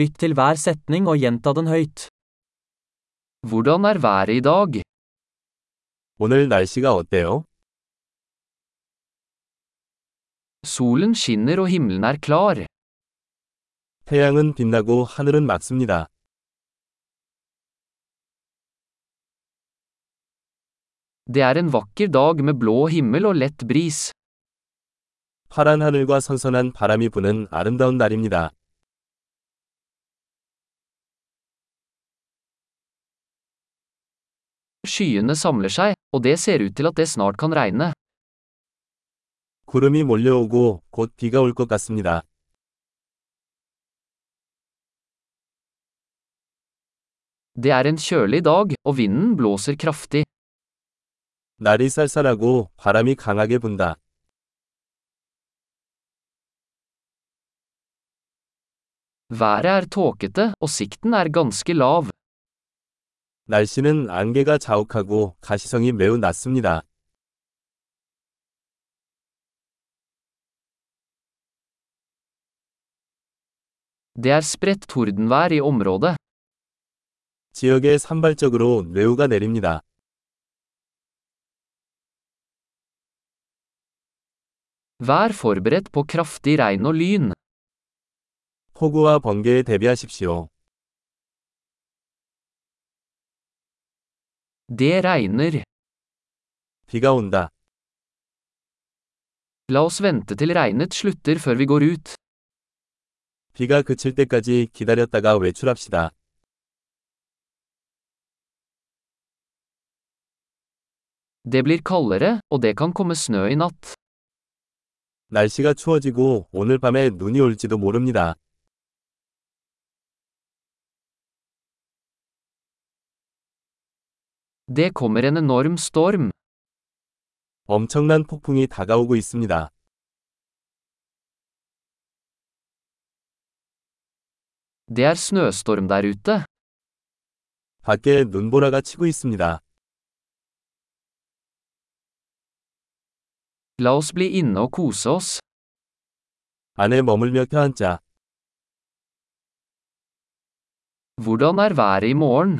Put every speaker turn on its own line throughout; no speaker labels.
Lytt til hver setning og gjenta den høyt.
Hvordan er været i dag?
오늘 날씨가 어때요?
Solen skinner og himmelen er klar.
태양은 빛나고 하늘은 맑습니다.
Det er en vakker dag med blå himmel og lett bris.
파란 하늘과 선선한 바람이 부는 아름다운 날입니다.
Skyene samler seg, og det ser ut til at det snart kan regne.
구름이 몰려오고 곧 비가 올 것 같습니다.
Det er en kjølig dag, og vinden blåser kraftig.
날이 쌀쌀하고 바람이 강하게 분다.
Været er tåkete, og sikten er ganske lav.
날씨는 안개가 자욱하고 가시성이 매우 낮습니다.
Det er spredt tordenvær i området.
지역에 산발적으로 뇌우가 내립니다.
Vær forberedt på kraftig regn og lyn.
폭우와 번개에 대비하십시오.
Det regner.
비가 온다.
La oss vente til regnet slutter før vi går ut.
비가 그칠 때까지 기다렸다가 외출합시다.
Det blir kaldere, og det kan komme snø i natt.
날씨가 추워지고 오늘 밤에 눈이 올지도 모릅니다.
Det kommer en enorm storm.
엄청난 폭풍이 다가오고 있습니다.
Det er snøstorm der ute.
밖에 눈보라가 치고 있습니다.
La oss bli inne og kose oss.
안에 머물며 펴앉자.
Hvordan er været i morgen?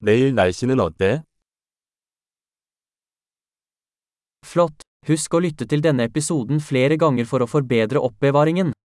내일 날씨는 어때?
Flott! Husk å lytte til denne episoden flere ganger for å forbedre oppbevaringen.